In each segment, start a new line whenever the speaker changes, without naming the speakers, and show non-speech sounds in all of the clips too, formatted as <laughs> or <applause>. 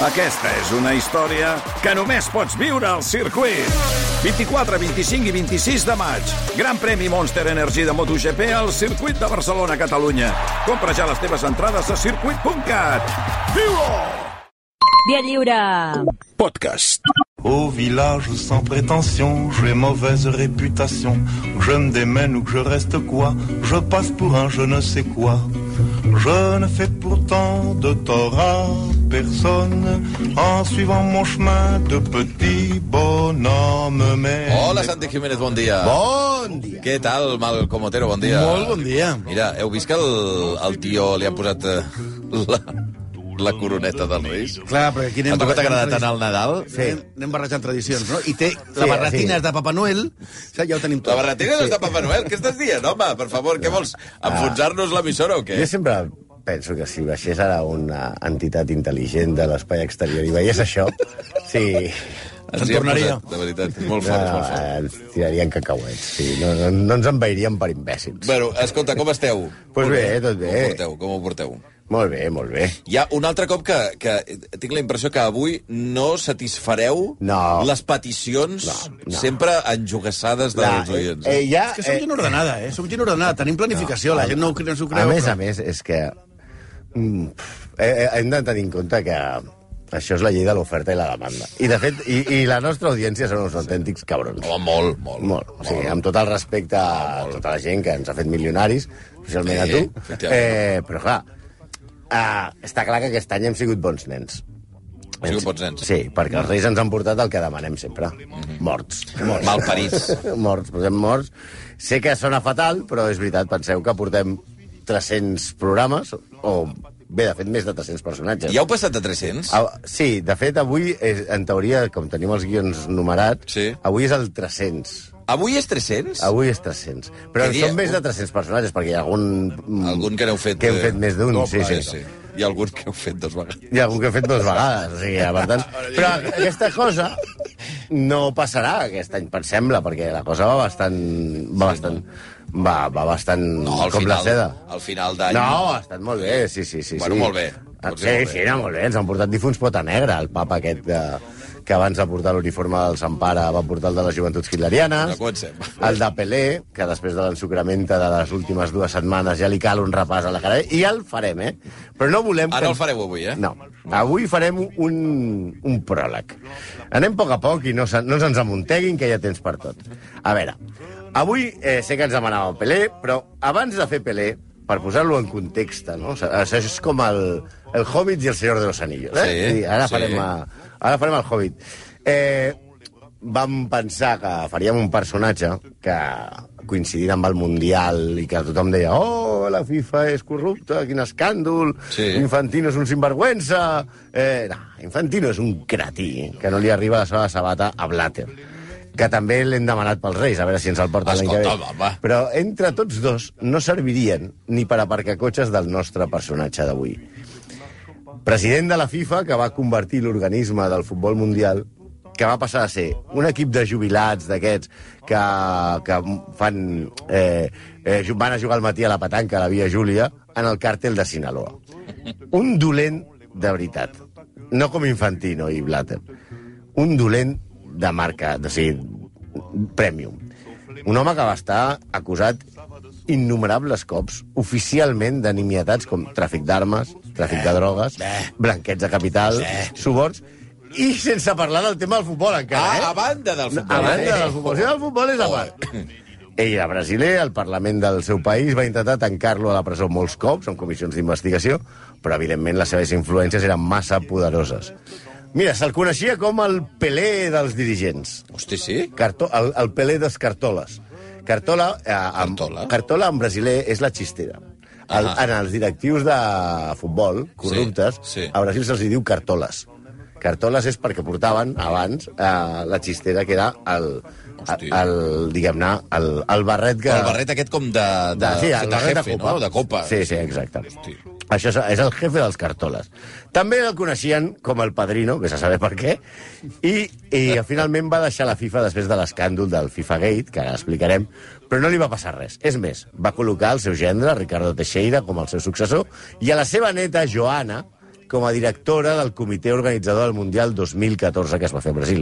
Aquesta és una història que només pots viure al circuit. 24, 25 i 26 de maig. Gran premi Monster Energy de MotoGP al circuit de Barcelona, Catalunya. Compra ja les teves entrades a circuit.cat. Viu-ho!
Dia lliure!
Podcast.
Au village sans prétention, j'ai mauvaise réputation. Que je me démène ou que je reste quoi, je passe pour un je ne sais quoi. Je ne fais pourtant de tort à personne en suivant mon chemin de petit bonhomme. Mais
Hola, Santi Jiménez, bon dia.
Bon dia.
Què tal, Malcom Otero, bon dia.
Molt bon dia.
Mira, heu vist que el, el tio li ha posat eh, la, la coroneta dels Reis?
Clar, perquè aquí anem
A tu que t'agrada
barrejant
tant el Nadal?
Sí. Anem, anem barrejant tradicions, no? I té la
Sí,
barretina
sí.
és de Papa Noel, saps? ja ho tenim tot.
La barretina no és de Papa Noel, què estàs dient, home? Per favor, què vols, enfonsar-nos l'emissora o què?
Jo sempre penso que si baixés ara una entitat intel·ligent de l'espai exterior i veiés això, sí,
Ens hi hem
tornaria.
posat, De veritat, és molt
no,
fort, és molt fort.
ens tirarien cacauets. Sí, no, no, no ens enveiríem per imbècils.
Bueno, escolta, com esteu?
Pues
Molt
bé, tot bé.
Com ho porteu? Com ho porteu?
Molt bé, molt bé.
Hi ha un altre cop que, que tinc la impressió que avui no satisfareu
No.
les peticions
no.
sempre enjugassades dels
La-
oients.
eh, ja,
És que som gent ordenada, eh? Som gent ordenada, tenim planificació, la gent no, ho cre- no s'ho creu.
a més,
però-
a més, és que... Mm, pff, eh, eh, hem de tenir en compte que això és la llei de l'oferta i la demanda. I, de fet, i, i la nostra audiència són uns autèntics cabrons.
Home, molt, molt.
Molt. O sigui, amb tot el respecte a tota la gent que ens ha fet milionaris, especialment
Eh,
a tu,
efectivament.
eh, però clar, eh, està clar que aquest any hem sigut bons nens.
Hem sigut bons nens. Mhm.
Sí, perquè els Reis ens han portat el que demanem sempre.
<laughs>
Morts. Morts.
Malparits.
<laughs> morts, posem morts. Sé que sona fatal, però és veritat, penseu que portem 300 programes, o bé, de fet, més de 300 personatges.
Ja heu passat a 300?
Ah, sí, de fet, avui, és, en teoria, com tenim els guions numerats,
Sí.
avui és el 300.
Avui és 300?
Avui és 300. Però
Què
en
dia?
són més de 300 personatges, perquè hi ha algun...
Algun que n'heu fet,
Que hem
eh,
fet més d'un, sí, sí.
sí. Hi ha algun que heu fet dos vegades.
Hi ha algun que hem fet dues vegades, o sigui, per
<laughs>
tant... Però aquesta cosa no passarà aquest any, per sembla, perquè la cosa va bastant... Va bastant... Va, va bastant
No, al
com
final,
la seda.
Al final d'any.
No, ha estat molt bé, sí, sí, sí.
Bueno,
sí.
molt bé.
Ah,
Pot
Sí,
ser molt bé.
sí, no, molt bé. Ens han portat difunts pota negra, el papa aquest de, que abans de portar l'uniforme del Sant Pare va portar el de les joventuts hitlerianes.
Ja comencem.
El de Pelé, que després de l'ensucramenta de les últimes dues setmanes ja li cal un repàs a la cara. I ja el farem, eh? Però no volem...
Ara el fareu avui, eh?
No. Avui farem un, un pròleg. Anem a poc a poc i no, se- no se'ns amunteguin, que hi ha temps per tot. A veure, avui eh, sé que ens demanàveu Pelé, però abans de fer Pelé, per posar-lo en context, no? O sigui, Això és com el, el Hobbit i el Senyor de los Anillos. Eh?
Sí,
I ara,
sí.
farem a, ara farem el Hobbit. Eh, vam pensar que faríem un personatge que coincidint amb el Mundial i que tothom deia oh, la FIFA és corrupta, quin escàndol,
Sí.
Infantino és un sinvergüenza... Eh, no, Infantino és un cretí que no li arriba la sola sabata a Blatter que també l'hem demanat pels Reis, a veure si ens el porten l'any que
Escolta, home,
ve.
va.
Però entre tots dos no servirien ni per aparcar cotxes del nostre personatge d'avui. President de la FIFA, que va convertir l'organisme del futbol mundial que va passar a ser un equip de jubilats d'aquests que, que fan, eh, eh, ju- van a jugar al matí a la petanca, a la Via Júlia, en el càrtel de Sinaloa. Un dolent de veritat. No com Infantino i Blatter. Un dolent de marca, o sigui, premium. Un home que va estar acusat innumerables cops oficialment de nimietats com tràfic d'armes, tràfic de drogues,
Eh.
blanquets de capital, suborns, i sense parlar del tema del futbol encara, eh?
Ah, a banda del futbol. eh?
A banda del futbol. Sí, el futbol és a part. Ell era brasiler, el Parlament del seu país va intentar tancar-lo a la presó molts cops, en comissions d'investigació, però, evidentment, les seves influències eren massa poderoses. Mira, se'l coneixia com el Pelé dels dirigents.
Hosti, sí?
Carto, el, el Pelé dels Cartoles. Cartola, eh, amb,
Cartola.
Cartola en brasiler és la xistera. El,
Ah.
en els directius de futbol corruptes,
Sí, sí.
a Brasil se'ls diu cartoles. Cartoles és perquè portaven abans eh, la xistera, que era el, el,
Hosti.
el diguem-ne, el, el barret que...
El barret aquest com de, de,
de, sí, el
de
barret
jefe,
de copa.
no? De copa.
Sí, sí, exacte.
Hosti.
Això és, és el jefe dels cartoles. També el coneixien com el padrino, vés a saber per què, i, i finalment va deixar la FIFA després de l'escàndol del FIFA Gate, que ara explicarem, però no li va passar res. És més, va col·locar el seu gendre, Ricardo Teixeira, com el seu successor, i a la seva neta, Joana, com a directora del comitè organitzador del Mundial 2014 que es va fer a Brasil.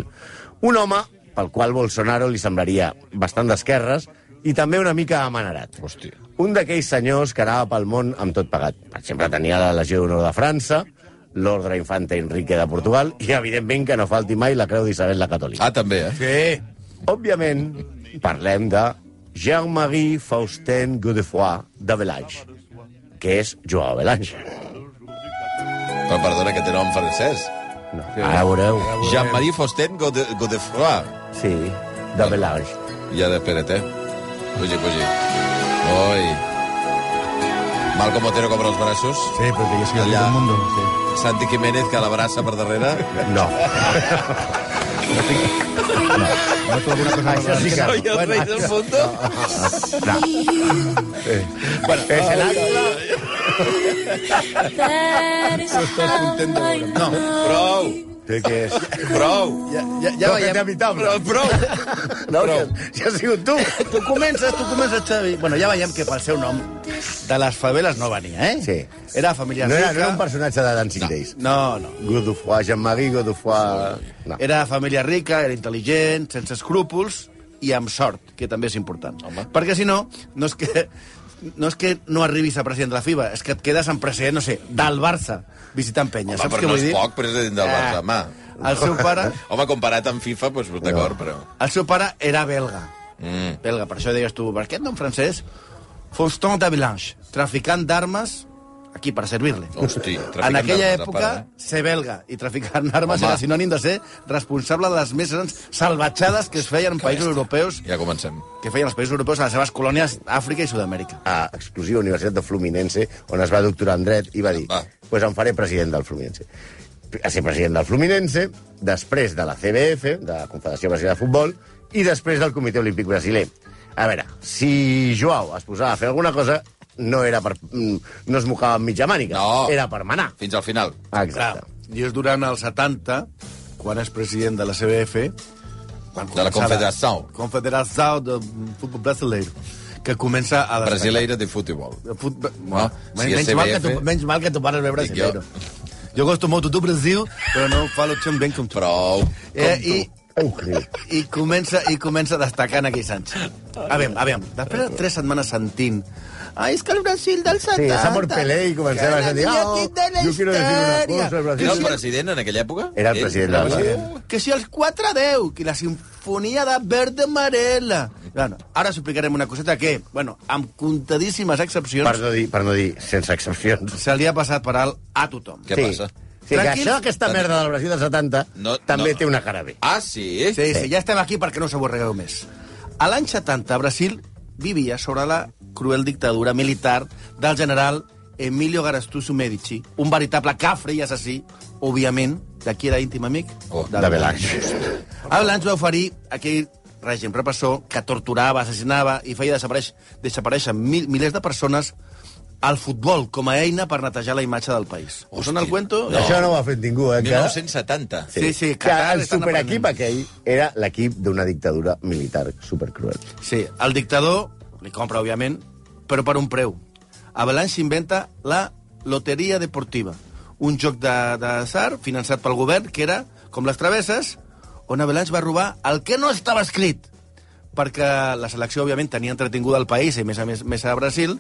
Un home pel qual Bolsonaro li semblaria bastant d'esquerres i també una mica amanerat.
Hòstia.
Un d'aquells senyors que anava pel món amb tot pagat. Per exemple, tenia la Legió d'Honor de França, l'Ordre Infante Enrique de Portugal i, evidentment, que no falti mai la Creu d'Isabel la Catòlica.
Ah, també, eh?
Sí.
Òbviament, parlem de Jean-Marie Faustin Godefroy de Belange, que és Joao Belange.
Però perdona, que té nom francès.
No, ara veureu.
Jean-Marie Faustin Gode Godefroy.
Sí, de Belange.
I ara, espera't, eh? Pugi, pugi. Oi. Malcom Otero cobra els braços.
Sí, porque yo soy el
Allá.
del mundo.
Santi Jiménez, que l'abraça per darrere.
<laughs>
No.
Noto alguna cosa
Això sí que...
Soy el rei del mundo.
No. Bueno, és l'angle...
Estàs content de veure. No, prou,
Crec que és...
prou.
Ja, ja, ja
No, que
veiem.
és inevitable.
Prou, prou.
No,
Prou.
<laughs> que, si has sigut tu.
<laughs> Tu comences, tu comences, Xavi. Bueno, ja veiem que pel seu nom de les faveles no venia, eh?
Sí.
Era família
No era,
rica.
no era un personatge de Dancing no. Days.
No, no.
Godefroy, Jean-Marie Godefroy... No.
Era família rica, era intel·ligent, sense escrúpols i amb sort, que també és important. Home. Perquè si no, no és que no és que no arribis a president de la FIBA, és que et quedes en president, no sé, del Barça, visitant penya.
Home,
Saps
però
què
no
vull
és
dir? Ah.
poc, president del Barça, home.
El seu pare,
Home, comparat amb FIFA, doncs, d'acord, però...
el seu pare era belga.
Mm.
Belga, per això deies tu, per aquest nom francès? Faustin de Belange, traficant d'armes aquí per servir-li.
Hosti, traficant
En aquella
d'armes,
època,
a part,
ser belga i traficar en armes
Home.
era sinònim de ser responsable de les més grans salvatjades que es feien en països europeus,
Ja comencem.
que feien els països europeus a les seves colònies Àfrica i Sud-amèrica.
a exclusiva Universitat de Fluminense, on es va doctorar en dret, i va dir,
Va.
pues em faré president del Fluminense. A ser president del Fluminense, després de la CBF, de la Confederació Brasileira de Futbol, i després del Comitè Olímpic Brasiler. A veure, si Joao es posava a fer alguna cosa, no, era per, mm, no es mocava amb mitja màniga,
No.
era per manar.
Fins al final.
Exacte.
I és durant el 70, quan és president de la CBF, quan
De la
comença
Confederació.
Confederació de Futbol Brasileiro, que comença a... destacar.
Brasileira de futbol.
de futbol.
No, si és
menys, mal que
CBF.
tu, menys mal que tu pares veure
Dic
brasileiro. Jo gosto molt de tu, Brasil, però no ho fa l'opció ben com tu.
Prou.
Eh, i,
Exacte.
i, comença, I comença destacant aquí Sánchez. A veure, a veure, després de tres setmanes sentint... Ai, és que el Brasil del 70...
Sí, esa por Pelé i comencem a sentir... Oh, jo quiero decir una cosa, el Brasil...
Era el president en aquella època?
Era el
Ell?
president del Brasil.
Que si els 4 10, que la sinfonia de verde amarela... Bueno, ara us explicarem una coseta que, bueno, amb contadíssimes excepcions,
Per no dir, per no dir sense excepcions.
se li ha passat per alt a tothom.
Què passa?
Sí, que
Tranquils.
això, aquesta merda del Brasil dels 70,
No,
no, també
no.
no. té una cara bé.
Ah, sí?
Sí, sí, ja estem aquí perquè no us avorregueu més. A l'any 70, Brasil vivia sobre la cruel dictadura militar del general Emilio Garastuzu Medici, un veritable cafre i assassí, òbviament, de qui era íntim amic?
Oh,
De
De Belange.
A Belange va oferir aquell règim repressor que torturava, assassinava i feia desaparèixer, desaparèixer mil, milers de persones al futbol com a eina per netejar la imatge del país. Us sona el cuento?
No. Això no ho ha fet ningú, eh? encara?
1970.
Sí, sí,
que
Qatar
el
estan
superequip
aprenent.
aquell era l'equip d'una dictadura militar supercruel.
Sí, el dictador li compra, òbviament, però per un preu. Avalanche s'inventa la Loteria Deportiva, un joc de- d'atzar finançat pel govern que era com les travesses, on Avalanche va robar el que no estava escrit, perquè la selecció, òbviament, tenia entretinguda el país, i més a més, més a Brasil,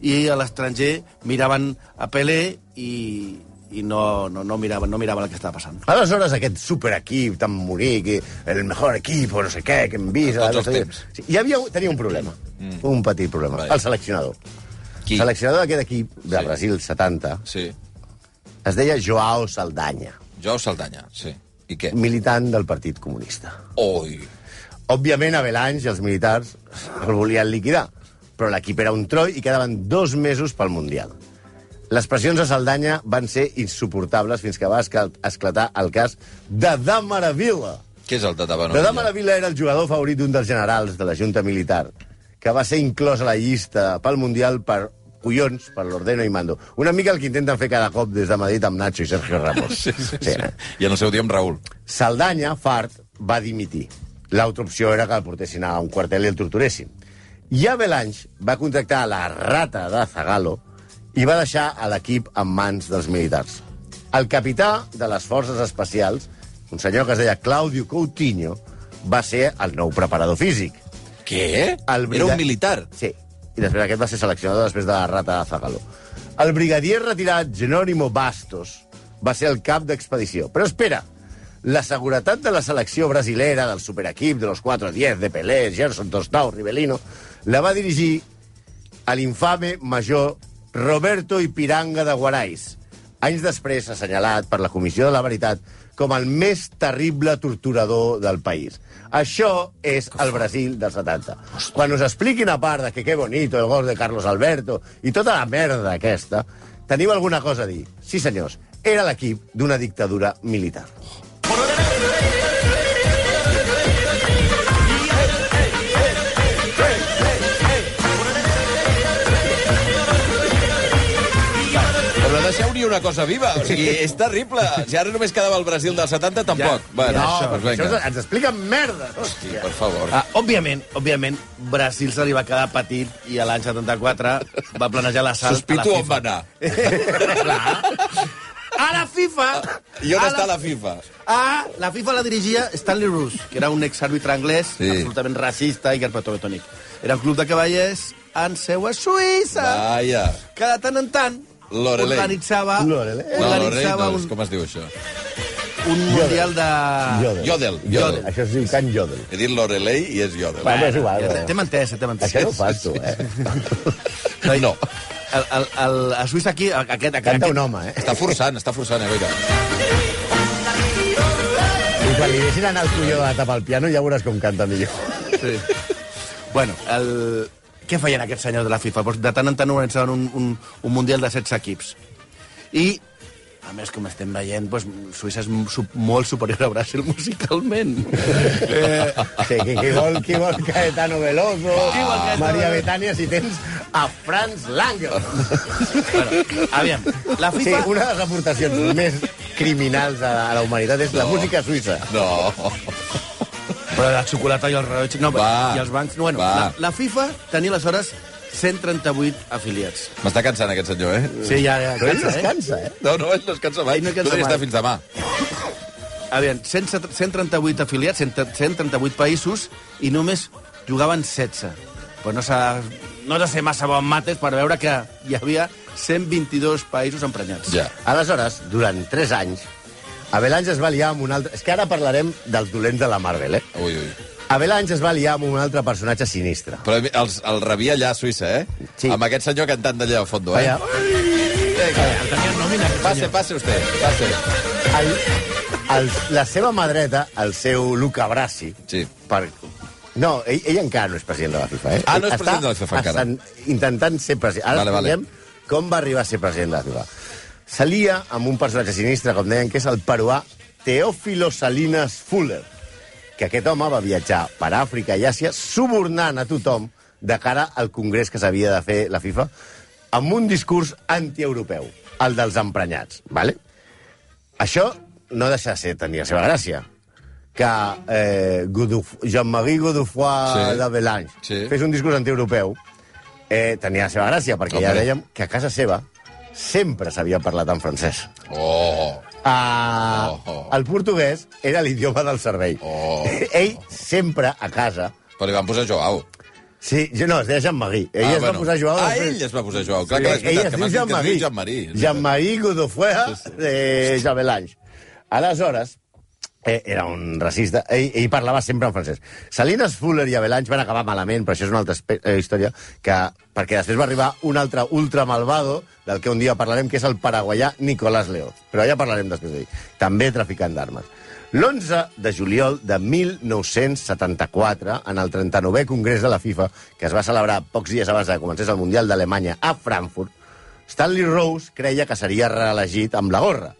i a l'estranger miraven a Pelé i, i no, no, no, miraven, no miraven el que estava passant.
Aleshores, aquest superequip tan bonic, i el millor equip, o no sé què, que hem vist...
Tots
no
els
sé què.
temps.
Sí, hi havia, tenia un problema, mm. un petit problema,
Vale.
el seleccionador.
Qui?
El seleccionador d'aquest equip de
Sí.
sí. Brasil 70
Sí.
es deia Joao Saldanha,
Joao Saldanya, sí. I
Mm.
què?
militant del Partit Comunista.
Oi.
Òbviament, a Belange i els militars el volien liquidar, però l'equip era un troi i quedaven dos mesos pel Mundial. Les pressions a Saldanya van ser insuportables fins que va escla- esclatar el cas de Damaravila.
Què és el de
De
Tabanovilla?
Damaravila era el jugador favorit d'un dels generals de la Junta Militar, que va ser inclòs a la llista pel Mundial per collons, per l'ordeno i mando. Una mica el que intenten fer cada cop des de Madrid amb Nacho i Sergio Ramos.
<laughs> Sí, sí, sí.
eh?
I en el seu dia amb Raül.
Saldanya, fart, va dimitir. L'altra opció era que el portessin a un quartel i el torturessin. I a Belange va contractar la rata de Zagalo i va deixar a l'equip en mans dels militars. El capità de les forces especials, un senyor que es deia Claudio Coutinho, va ser el nou preparador físic.
Què?
El
Era
brigadier-
un militar.
Sí, i després aquest va ser seleccionador després de la rata de Zagaló. El brigadier retirat Genónimo Bastos va ser el cap d'expedició. Però espera, la seguretat de la selecció brasilera, del superequip, de los 4-10, de Pelé, Gerson, Tostau, Rivelino, la va dirigir a l'infame major Roberto Ipiranga de Guarais, anys després assenyalat per la Comissió de la Veritat com el més terrible torturador del país. Això és el Brasil dels 70. Quan us expliquin a part de que que bonito el gol de Carlos Alberto i tota la merda aquesta, teniu alguna cosa a dir. Sí, senyors, era l'equip d'una dictadura militar.
Però no deixeu ni una cosa viva. O sigui, és terrible. Si ara només quedava el Brasil del 70, tampoc. Ja, bueno,
No,
doncs
perquè això
vinga.
ens- ens expliquen merda, hòstia.
Per favor.
Ah, òbviament, òbviament, Brasil se li va quedar petit i a l'any 74 va planejar l'assalt
Sospito
a la
on va
FIFA.
anar.
<laughs> A la FIFA!
I on
A
està la FIFA?
Ah, la FIFA la dirigia Stanley Roos, que era un exàrbitre anglès
Sí.
sí. absolutament racista i garpatotònic. Era un club de cavallers en seu a Suïssa, Va.
Vaja.
que de tant en tant
Lorelei.
organitzava,
Lorelei.
No,
organitzava
Reynolds,
un,
com es diu això?
un mundial de...
Jodel.
Yodel.
Yodel.
Yodel.
Això es diu Can Jodel.
He dit Lorelei i és Yodel.
Home, és igual.
Ja T'hem entès, eh, t'hem entès.
Això no ho fas, tu, eh?
No.
El, el, el, a Suïssa aquí, aquest... aquest
Canta
aquest-
un home, eh?
Està forçant, està forçant, eh, Goita?
I quan li deixin anar el colló de tapar el piano ja veuràs com canta millor.
Sí. Bueno, el... què feien aquests senyors de la FIFA? Doncs de tant en tant organitzaven un, un, un Mundial de 16 equips. I, a més, com estem veient, doncs, Suïssa és su- molt superior a Brasil <laughs> musicalment. eh,
Sí, que, que vol, qui vol Caetano Veloso,
Qui vol Caetano
Maria
Veloso?
Betània, si tens a Franz Langer.
bueno, aviam, la
Sí,
FIFA...
una de les aportacions més criminals a, a la humanitat és la música suïssa.
No. <laughs>
Però la xocolata i els rellotges... No,
Va.
I els bancs... No, bueno,
Va.
la, la FIFA tenia aleshores 138 afiliats.
M'està cansant aquest senyor, eh?
Sí, ja, ja
Però ell
cansa,
es
eh?
cansa, eh?
No, no, ell no es cansa mai.
Ell no cansa
Podria estar
mai.
fins demà.
Aviam, 100 138 afiliats, 100 138 països, i només jugaven 16. Però no s'ha no has de ser massa bon mates per veure que hi havia 122 països emprenyats.
Ja.
eh? Aleshores, durant 3 anys, Avelange es va liar amb un altre... És que ara parlarem dels dolents de la Marvel, eh?
Ui, ui.
Avelange es va liar amb un altre personatge sinistre.
Però els, el rebia allà a Suïssa, eh?
Sí.
Amb aquest senyor cantant d'allà a fondo, eh?
Vaja,
Vinga. Passe, passe usted, passe.
el, el, la seva mà dreta, el seu Luca Brasi,
Sí.
per... No, ell, ell encara no és president de la FIFA, eh?
Ah, no és
Està
president de la FIFA encara.
estan- Intentant ser president. Ara
Vale, vale.
expliquem com va arribar a ser president de la FIFA. Salia amb un personatge sinistre, com deien, que és el peruà Teófilo Salinas Fuller, que aquest home va viatjar per Àfrica i Àsia subornant a tothom de cara al congrés que s'havia de fer la FIFA amb un discurs antieuropeu, el dels emprenyats, vale? Això no deixa de ser tenir la seva gràcia que eh, Goduf, Jean-Marie Godofroy
Sí.
sí. de Belange
Sí.
fes un discurs antieuropeu eh, tenia la seva gràcia, perquè ja
Hombre.
dèiem que a casa seva sempre s'havia parlat en francès.
Oh,
Ah,
Oh.
El portuguès era l'idioma del servei.
Oh.
Ell sempre a casa...
però li van posar Joao.
Sí, jo no, es deia Jean-Marie. Ell
Ah,
es
bueno.
va posar Joao...
Ah,
després-
ell es va posar Joao. Clar, clar, és veritat,
ell es
que
diu
m'has dit que es diu
Jean-Marie.
Jean-Marie, és veritat.
Jean-Marie Godofuera de Jean Belange. Aleshores, eh, era un racista, ell, ell parlava sempre en francès. Salinas Fuller i Avelange van acabar malament, però això és una altra espe- eh, història, que, perquè després va arribar un altre ultra malvado, del que un dia parlarem, que és el paraguaià Nicolás Leoz. Però ja parlarem després d'ell. També traficant d'armes. L'11 de juliol de 1974, en el 39è Congrés de la FIFA, que es va celebrar pocs dies abans de que comencés el Mundial d'Alemanya a Frankfurt, Stanley Rose creia que seria reelegit amb la gorra,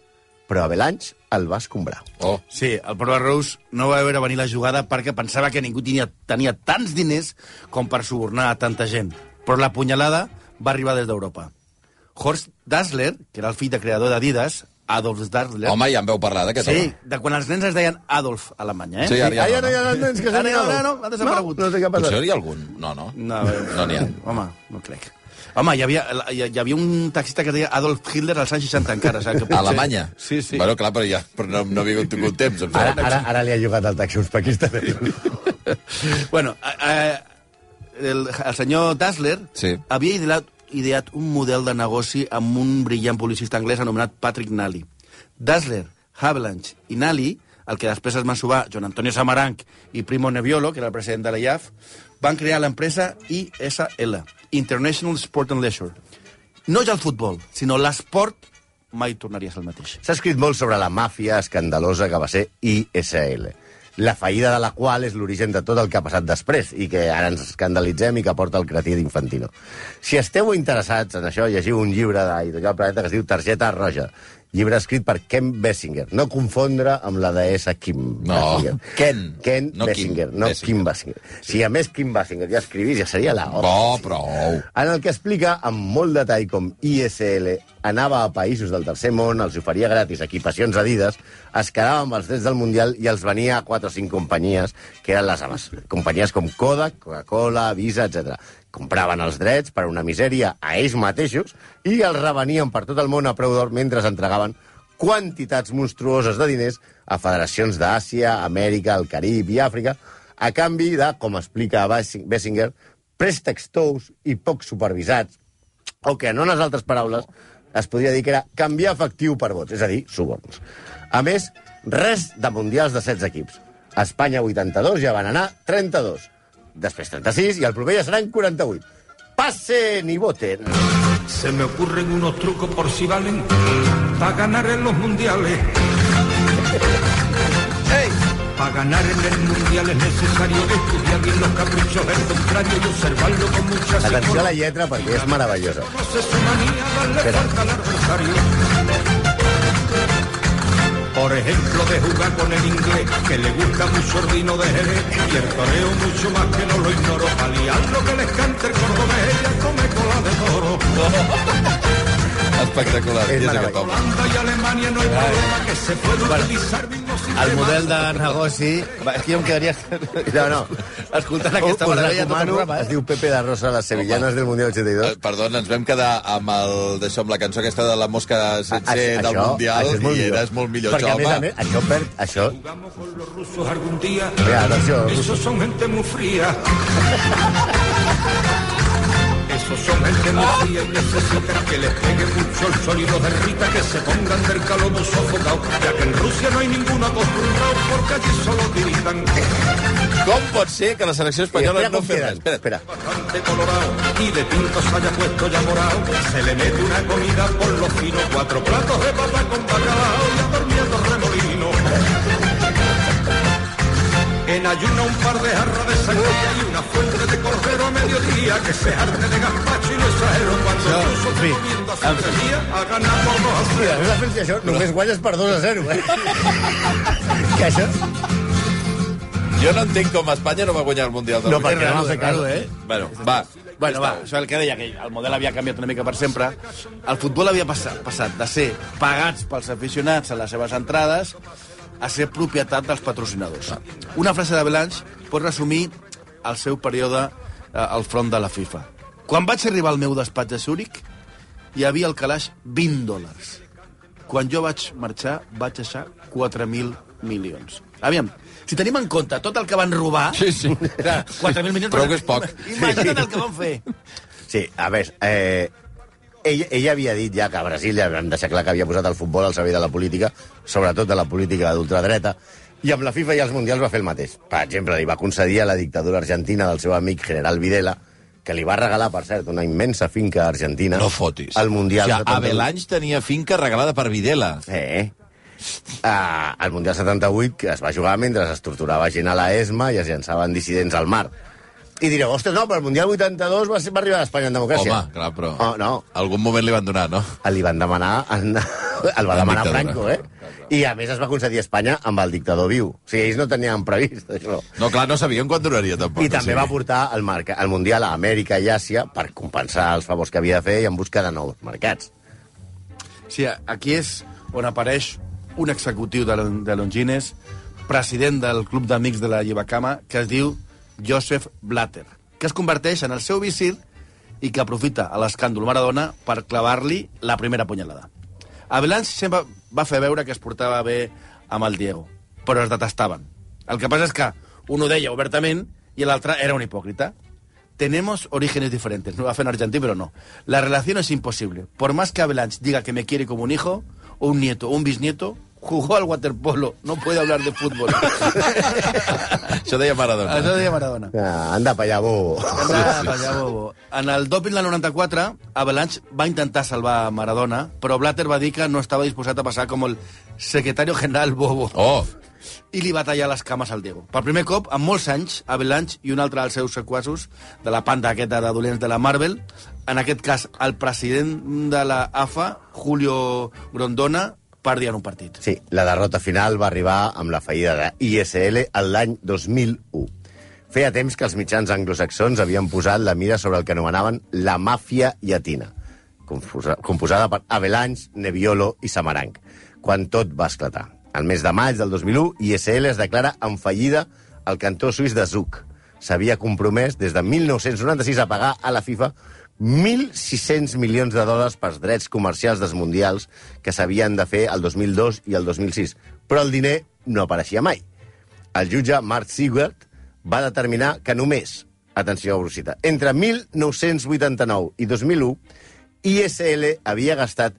però Avelange el va escombrar.
Oh.
Sí, el Port Barros no va veure venir la jugada perquè pensava que ningú tenia, tenia tants diners com per subornar a tanta gent. Però la punyalada va arribar des d'Europa. Horst Dassler, que era el fill de creador d'Adidas, Adolf Dassler...
Home, ja en veu parlar d'aquest
sí,
home.
de quan els nens es deien Adolf a Alemanya, eh?
Sí, ara
Ah,
ja
ja
no.
no hi
no.
ha nens que
Ara
s'han
ja no,
anat.
ara no, ha desaparegut.
No, no sé què ha
Potser
passat.
hi ha algun. No, no.
No, a veure.
No n'hi ha.
Home, no crec. Home, hi havia, hi, hi havia un taxista que deia Adolf Hitler als anys 60 encara. O sigui, que
A Alemanya?
Sí, sí.
Bueno, clar, però, ja, però no, no ha vingut tingut temps. Em
Ara,
sembla.
ara, ara li ha llogat el taxi a uns pakistanesos.
Bueno, eh, el, el senyor Dassler
Sí.
havia ideat, ideat un model de negoci amb un brillant publicista anglès anomenat Patrick Nally. Dassler, Havelange i Nally, el que després es van subar Joan Antonio Samaranch i Primo Neviolo, que era el president de la IAF, van crear l'empresa ISL, International Sport and Leisure. No ja el futbol, sinó l'esport mai tornaria a ser el mateix.
S'ha escrit molt sobre la màfia escandalosa que va ser ISL, la fallida de la qual és l'origen de tot el que ha passat després i que ara ens escandalitzem i que porta el cretí d'Infantino. Si esteu interessats en això, llegiu un llibre d'Editorial Planeta que es diu Targeta Roja, llibre escrit per Ken Bessinger. No confondre amb la deessa Kim
No,
Basinger.
Ken,
Ken
no Kim
Bessinger, no
Basinger.
Kim Basinger. Si a més Kim Basinger ja escrivís, ja seria la hòstia.
Bo, Oh, prou.
en el que explica amb molt detall com ISL anava a països del tercer món, els oferia gratis equipacions adides, es quedava amb els drets del Mundial i els venia a 4 o 5 companyies, que eren les seves. Companyies com Kodak, Coca-Cola, Visa, etc. Compraven els drets per una misèria a ells mateixos i els revenien per tot el món a preu d'or mentre entregaven quantitats monstruoses de diners a federacions d'Àsia, Amèrica, el Carib i Àfrica, a canvi de, com explica Basi- Bessinger, préstecs tous i poc supervisats, o que, en unes altres paraules, es podria dir que era canviar efectiu per vots, és a dir, suborns. A més, res de mundials de 16 equips. A Espanya 82 ja van anar 32, després 36 i el proper ja seran 48. Passen i voten.
Se me ocurren unos trucos por si valen para ganar en los mundiales. Para ganar en el mundial es necesario estudiar bien los caprichos del contrario y observarlo con mucha
Atenció a
psicología.
la lletra perquè és meravellosa.
Conoce su manía, darle
Espera.
falta al adversario. Por ejemplo, de jugar con el inglés, que le gusta mucho el vino de Jerez, y el toreo mucho más que no lo ignoro. Paliar lo que les canta el cordobés, ella come cola de toro.
Espectacular.
És
I és
meravellós.
aquest home.
Holanda y Alemania no hay problema que se puede utilizar mismo sistema.
El model de negoci... Va, aquí jo em quedaria
No, no.
escoltant
Oh, Us
aquesta meravella eh? tot el
recomano,
programa.
es diu Pepe de Rosa, les sevillanes del Mundial 82.
Eh, Perdona, ens vam quedar amb, el, això, amb la cançó aquesta de la mosca sencer
Ah, Això-
del
això
Mundial
és molt
i
millor.
eres molt millor,
Perquè,
això, home.
a més a més, això perd... Això...
Jugamos con los rusos algún día.
Mira, atenció, els
Esos son gente muy fría. Esos son gente muy fría y necesitan que les pegue mucho el sol y los derrita, que se pongan del calor muy sofocados, ya que en Rusia no hay ninguno acostumbrado porque allí solo tiritan.
Com pot ser que la selecció espanyola
Espera,
no
com
fes
queden.
res? Espera,
Espera.
Bastante colorado y de pinto se haya puesto ya morado, se le mete una comida por los finos, cuatro platos de papa con bacalao y a dormir a remolino. En ayuna un par de jarras de sangría y una fuente de cordero a mediodía, que se arte de gazpacho y no exagero cuando
No,
el ruso
en fin,
comiendo a
en fin.
día ha ganado dos a cero.
Mira, no la pensi això, només guanyes per 2 a
<laughs>
0, eh? que això...
Jo no entenc com Espanya no va guanyar el Mundial del
No,
Mundial.
perquè no
raro,
m'ha fet
raro,
caso, eh?
eh?
Bueno, va.
Bueno, va, això és el que deia, que el model havia canviat una mica per sempre. El futbol havia passat, passat de ser pagats pels aficionats a les seves entrades a ser propietat dels patrocinadors. Una frase de Belange pot resumir el seu període eh, al front de la FIFA. Quan vaig arribar al meu despatx a Zúrich, hi havia al calaix 20 dòlars. Quan jo vaig marxar, vaig deixar 4.000 milions. Aviam, si tenim en compte tot el que van robar...
Sí, sí.
Clar, 4.000 milions...
Prou que és poc.
Imagina't el que van fer.
Sí, a veure, eh, ell, ell havia dit ja que a Brasil ja vam deixar clar que havia posat el futbol al servei de la política, sobretot de la política d'ultradreta, i amb la FIFA i els Mundials va fer el mateix. Per exemple, li va concedir a la dictadura argentina del seu amic general Videla, que li va regalar, per cert, una immensa finca a argentina.
No fotis.
Al Mundial.
O sigui,
78.
Avelanys tenia finca regalada per Videla.
Eh. Ah, el Mundial 78 que es va jugar mentre es torturava gent a la ESMA i es llançaven dissidents al mar. I direu, ostres, no, però el Mundial 82 va, ser, va arribar a Espanya en democràcia.
Home, clar, però...
Oh, no, Ah,
Algun moment li van donar, no?
li van demanar... En... <laughs> el va
La
demanar
dictadura.
Franco, eh? I a més es va concedir a Espanya amb el dictador viu. O sigui, ells no tenien previst això.
No, clar, no sabien quan donaria, tampoc.
I també
sí.
va portar el, marca, el Mundial a Amèrica i Àsia per compensar els favors que havia de fer i en busca de nous mercats.
Sí, aquí és on apareix un executiu de, de Longines, president del Club d'Amics de la Llevacama, que es diu Joseph Blatter, que es converteix en el seu visir i que aprofita a l'escàndol Maradona per clavar-li la primera punyalada. Abelán sempre va fer veure que es portava bé amb el Diego, però es detestaven. El que passa és que un ho deia obertament i l'altre era un hipòcrita. Tenemos orígenes diferentes. No va fer en argentí, però no. La relación es imposible. Por más que Avalanche diga que me quiere como un hijo, o un nieto, o un bisnieto, jugó al waterpolo. No puede hablar de fútbol.
Això deia Maradona.
Això deia Maradona.
Ah, anda pa allà, bobo.
Anda, vaya bobo. En el doping del 94, Avalanche va intentar salvar a Maradona, però Blatter va dir que no estava disposat a passar com el secretari general bobo
Oh,
i li va tallar les cames al Diego. Per primer cop, en molts anys, Avalanche i un altre dels seus sequaços de la panda aquesta de dolents de la Marvel, en aquest cas el president de la AFA, Julio Grondona, perdia en un partit.
Sí, la derrota final va arribar amb la fallida d'ISL l'any 2001. Feia temps que els mitjans anglosaxons havien posat la mira sobre el que anomenaven la màfia llatina, confusa- composada per Avelanys, Nebbiolo i Samaranc, quan tot va esclatar. El mes de maig del 2001, ISL es declara en fallida al cantó suís de Zug. S'havia compromès des de 1996 a pagar a la FIFA 1.600 milions de dòlars pels drets comercials dels mundials que s'havien de fer el 2002 i el 2006, però el diner no apareixia mai. El jutge Mark Siegert va determinar que només, atenció a Brusita, entre 1989 i 2001, ISL havia gastat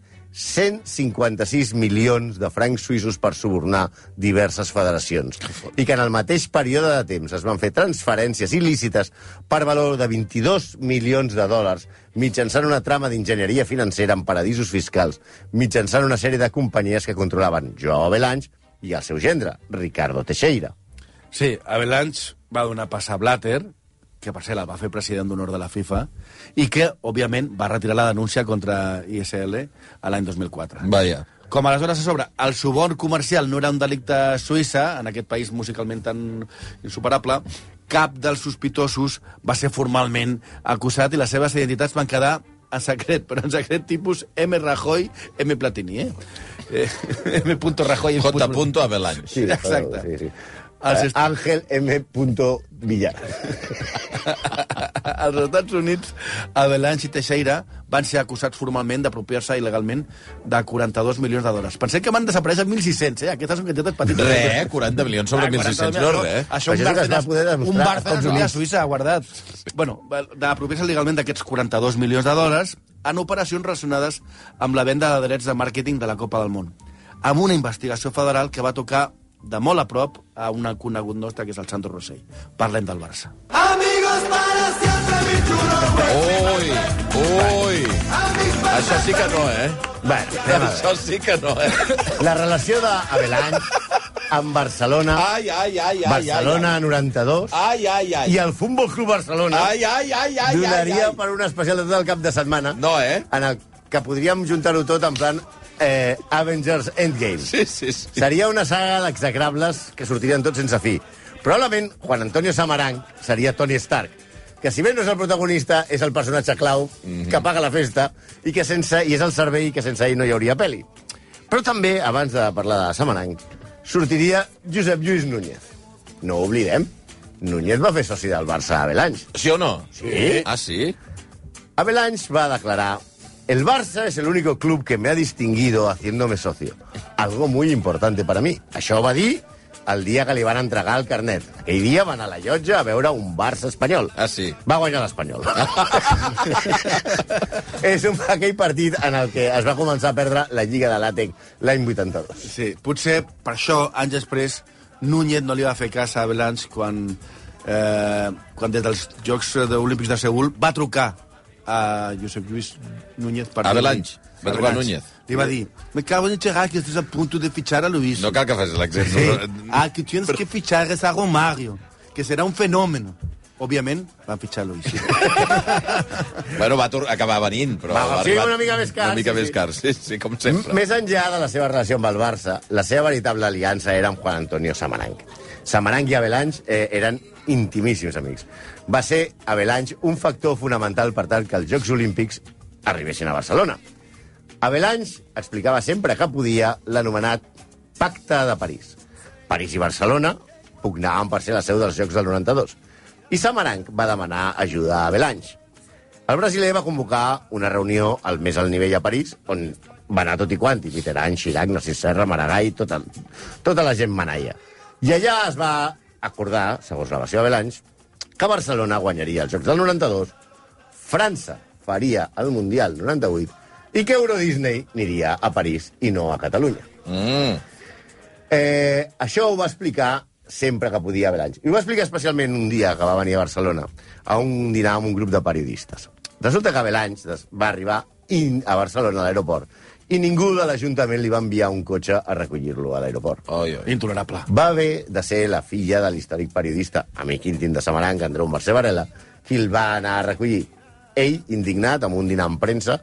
156 milions de francs suïssos per subornar diverses federacions i que en el mateix període de temps es van fer transferències il·lícites per valor de 22 milions de dòlars mitjançant una trama d'enginyeria financera en paradisos fiscals, mitjançant una sèrie de companyies que controlaven Joao Avelange i el seu gendre, Ricardo Teixeira.
Sí, Avalanche va donar pas a Blatter, que per cert el va fer president d'honor de la FIFA, i que, òbviament, va retirar la denúncia contra ISL a l'any 2004.
vaja.
Com aleshores a sobre, el suborn comercial no era un delicte a Suïssa, en aquest país musicalment tan insuperable, cap dels sospitosos va ser formalment acusat i les seves identitats van quedar en secret, però en secret tipus M. Rajoy, M. Platini, eh? eh <laughs> M. Rajoy... M.
J. punto Avelange. <laughs>
Sí, exacte.
Sí, sí.
Ah,
Els
Eh,
est- <laughs>
Ángel M. Villar.
Als Estats Units, Avalanche i Teixeira van ser acusats formalment d'apropiar-se il·legalment de 42 milions de dòlars. Pensem que van desaparèixer 1.600, eh? Aquestes són quantitats petites.
Re, eh? 40 milions sobre
Ah,
1.600, no
40 milions,
res.
Això
Això
un
eh? és el que es va
Bárcenas,
poder demostrar
un
als
Bárcenas
Estats
ho té a
Units.
Suïssa guardat. Bueno, d'apropiar-se legalment d'aquests 42 milions de dòlars en operacions relacionades amb la venda de drets de màrqueting de la Copa del Món, amb una investigació federal que va tocar de molt a prop a un conegut nostre, que és el Sandro Rossell. Parlem del Barça.
Ui, ui. Això sí que no, eh?
Bueno, anem a veure.
Això sí que no, eh?
La relació d'Avelanys amb Barcelona,
Ai, ai, ai, ai.
Barcelona 92,
Ai, ai, ai.
i el Futbol Club Barcelona
Ai, ai, ai, ai, ai,
donaria
ai.
per un especial de tot el cap de setmana
No, eh?
en el que podríem juntar-ho tot en plan eh, Avengers Endgame.
Sí, sí, sí.
Seria una saga d'execrables que sortirien tots sense fi. Probablement Juan Antonio Samaranc seria Tony Stark, que si bé no és el protagonista, és el personatge clau
Mhm.
que paga la festa i que sense i és el servei que sense ell no hi hauria pel·li. Però també, abans de parlar de Samaranc, sortiria Josep Lluís Núñez. No ho oblidem, Núñez va fer soci del Barça a Belanys.
¿Sí o no?
Sí.
Ah, sí.
Avalanche va a declarar, el Barça es el único club que me ha distinguido haciéndome socio. Algo muy importante para mí. Això ho va dir el dia que li van entregar el carnet. Aquell dia van a la llotja a veure un Barça espanyol.
Ah, sí.
Va guanyar l'Espanyol. és un, aquell partit en el que es va començar a perdre la Lliga de l'Àtec l'any 82.
Sí, potser per això, anys després, Núñez no li va fer cas a Belans quan, eh, quan des dels Jocs de Olímpics de Seul va trucar a Josep Lluís Núñez. Per
A Belanys. Va trucar a
Belanys.
Núñez.
Li va dir, me cago en Gerard, que estàs a punt de fitxar a Luis.
No cal que facis l'accent.
Sí. Ah, que tienes que fichar es a Romario, que será un fenómeno. Òbviament, va fitxar Luis.
Bueno, va tor- acabar venint, però...
Va,
ha
sí,
arribat
una mica més car,
Una mica
sí, Mm,
més
sí.
car, sí, sí, com sempre.
Més enllà de la seva relació amb el Barça, la seva veritable aliança era amb Juan Antonio Samaranch. Samaranch i Avelanys eh, eren intimíssims amics. Va ser Avelanys un factor fonamental per tal que els Jocs Olímpics arribessin a Barcelona. Avelanys explicava sempre que podia l'anomenat Pacte de París. París i Barcelona pugnaven per ser la seu dels Jocs del 92. I Samaranch va demanar ajuda a Avelanys. El brasiler va convocar una reunió al més alt nivell a París, on va anar tot i quant, i Mitterrand, Chirac, Narcís Serra, Maragall, tota, tota la gent manaia. I allà es va acordar, segons la versió de Belanys, que Barcelona guanyaria els Jocs del 92, França faria el Mundial 98 i que Euro Disney aniria a París i no a Catalunya. Eh, això ho va explicar sempre que podia Belanys. I ho va explicar especialment un dia que va venir a Barcelona a un dinar amb un grup de periodistes. Resulta que Belanys des- va arribar in a Barcelona, a l'aeroport, i ningú de l'Ajuntament li va enviar un cotxe a recollir-lo a l'aeroport.
Oi, oi.
<laughs> Intolerable.
Va haver de ser la filla de l'històric periodista, amic íntim de Samaranga, Andreu Mercè Varela, qui el va anar a recollir. Ell, indignat amb un dinar amb premsa,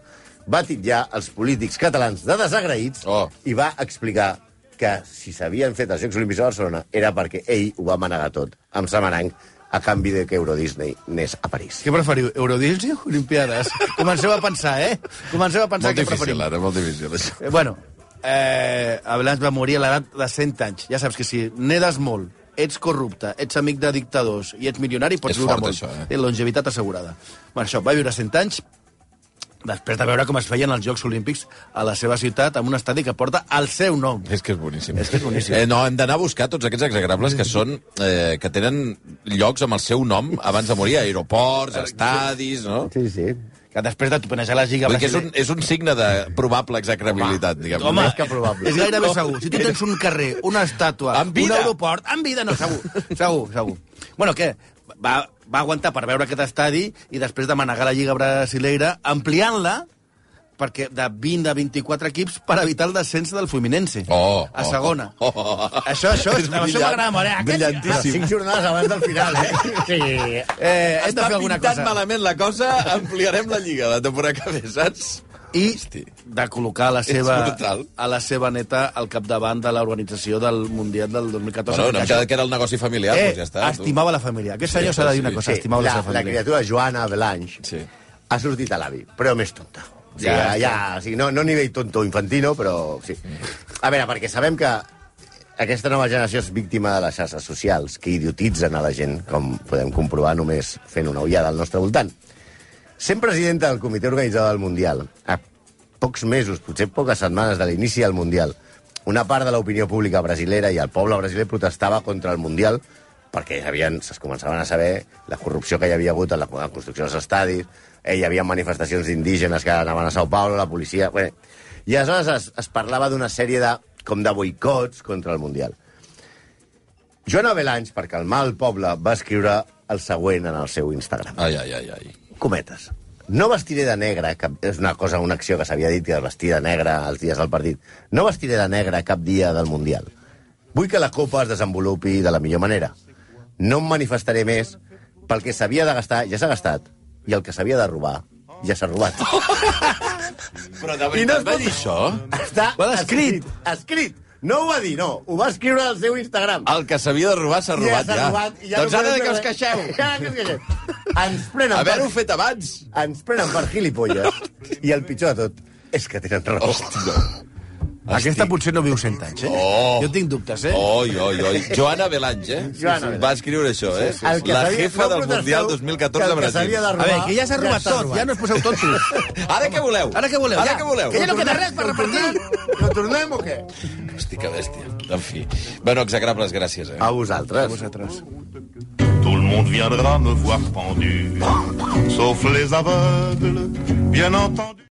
va titllar els polítics catalans de desagraïts
Oh.
i va explicar que si s'havien fet els Jocs Olímpics a Barcelona era perquè ell ho va manegar tot amb Samarang a canvi de que Euro Disney anés a París.
Què preferiu, Eurodisney o Olimpiades? Comenceu a pensar, eh? Comenceu a pensar
Molt
què
difícil,
preferiu.
ara, molt difícil, això.
Eh, bueno, eh, Abelans va morir a l'edat de 100 anys. Ja saps que si nedes molt, ets corrupte, ets amic de dictadors i ets milionari, pots
És
viure
fort,
molt.
això, eh?
Té longevitat assegurada. Bueno, això, va viure 100 anys, després de veure com es feien els Jocs Olímpics a la seva ciutat, amb un estadi que porta el seu nom.
És que és boníssim.
És que és boníssim.
Eh, no, hem d'anar a buscar tots aquests exagrables que són... Eh, que tenen llocs amb el seu nom abans de morir, aeroports, estadis, no?
Sí, sí.
Que després de tupenejar la lliga
Vull dir que és un,
brasileña...
és un signe de probable execrabilitat, diguem-ne.
Home,
més que probable.
és gairebé segur. Si tu tens un carrer, una estàtua,
En vida.
un aeroport, en vida no,
<laughs>
segur. Segur, segur. Bueno, què? Va, va aguantar per veure aquest estadi i després de manegar la Lliga Brasileira, ampliant-la perquè de 20 a 24 equips per evitar el descens del Fluminense.
Oh,
a
oh,
segona.
oh, oh, oh.
Això, això,
És
és això
brillant,
m'agrada molt. Eh? Aquest,
Ah, cinc jornades abans del final, eh? Sí.
eh, hem de fer alguna cosa.
malament la cosa, ampliarem la lliga la temporada que ve, saps?
i
Hosti.
de col·locar la
És
seva,
brutal.
a la seva neta al capdavant de l'organització del Mundial del 2014.
Bueno, no
perquè
hem quedat que era el negoci familiar,
eh,
doncs ja està. tu.
estimava la família. Aquest senyor
Sí,
s'ha de dir
sí,
una
sí.
cosa,
Sí,
estimava la,
la,
seva
la
família.
criatura Joana Belanys
Sí.
sí. ha sortit a l'avi, però més tonta. O sigui,
Ja
ja, ja, o sigui, no, no a nivell tonto infantino, però sí. A veure, perquè sabem que aquesta nova generació és víctima de les xarxes socials que idiotitzen a la gent, com podem comprovar només fent una ullada al nostre voltant. Sent presidenta del comitè organitzador del Mundial, a pocs mesos, potser poques setmanes de l'inici del Mundial, una part de l'opinió pública brasilera i el poble brasiler protestava contra el Mundial perquè havien, es començaven a saber la corrupció que hi havia hagut en la, en la construcció dels estadis, eh, hi havia manifestacions d'indígenes que anaven a Sao Paulo, la policia... Bé. I aleshores es, es parlava d'una sèrie de, com de boicots contra el Mundial. Joan Avelanys, per calmar el poble, va escriure el següent en el seu Instagram
Ai, ai, ai, ai.
cometes. No vestiré de negre, cap... és una cosa, una acció que s'havia dit, que vestir de negre els dies del partit. No vestiré de negre cap dia del Mundial. Vull que la Copa es desenvolupi de la millor manera. No em manifestaré més pel que s'havia de gastar, ja s'ha gastat, i el que s'havia de robar, ja s'ha robat.
Oh! Però de veritat no va dir això?
Està
Ho ha escrit.
Escrit! No ho va dir, no. Ho va escriure al seu Instagram.
El que s'havia de robar s'ha robat ja.
s'ha robat, i
doncs
no
ara que
podem fer
us
res.
queixeu.
<laughs> Ara que us queixeu. Ens prenen
Haver-ho
per
fet abans.
ens prenen per <laughs> gilipolles i el pitjor de tot és que tenen raó.
Hòstia.
Aquesta potser no viu 100 anys, eh?
Oh.
Jo tinc dubtes, eh?
Oi, oi, oi. Joana Belange, eh?
Joana Belange.
Va escriure això, eh? La
s'havia-
jefa
no
del
protesteu
Mundial
que
2014
el
a
que s'havia
Brasil.
de
A veure, que ja s'ha robat
s'ha
tot,
robat.
ja no us poseu tontos.
Ara què voleu?
Ara què voleu?
Ara
ja.
què voleu?
Que ja no queda res per repartir.
Ho tornem o què?
Hosti, que bèstia. En fi. Bueno, exagrables, gràcies, eh?
A vosaltres.
Vosaltres.
Tout le monde viendra me voir pendu, sauf les aveugles, bien entendu.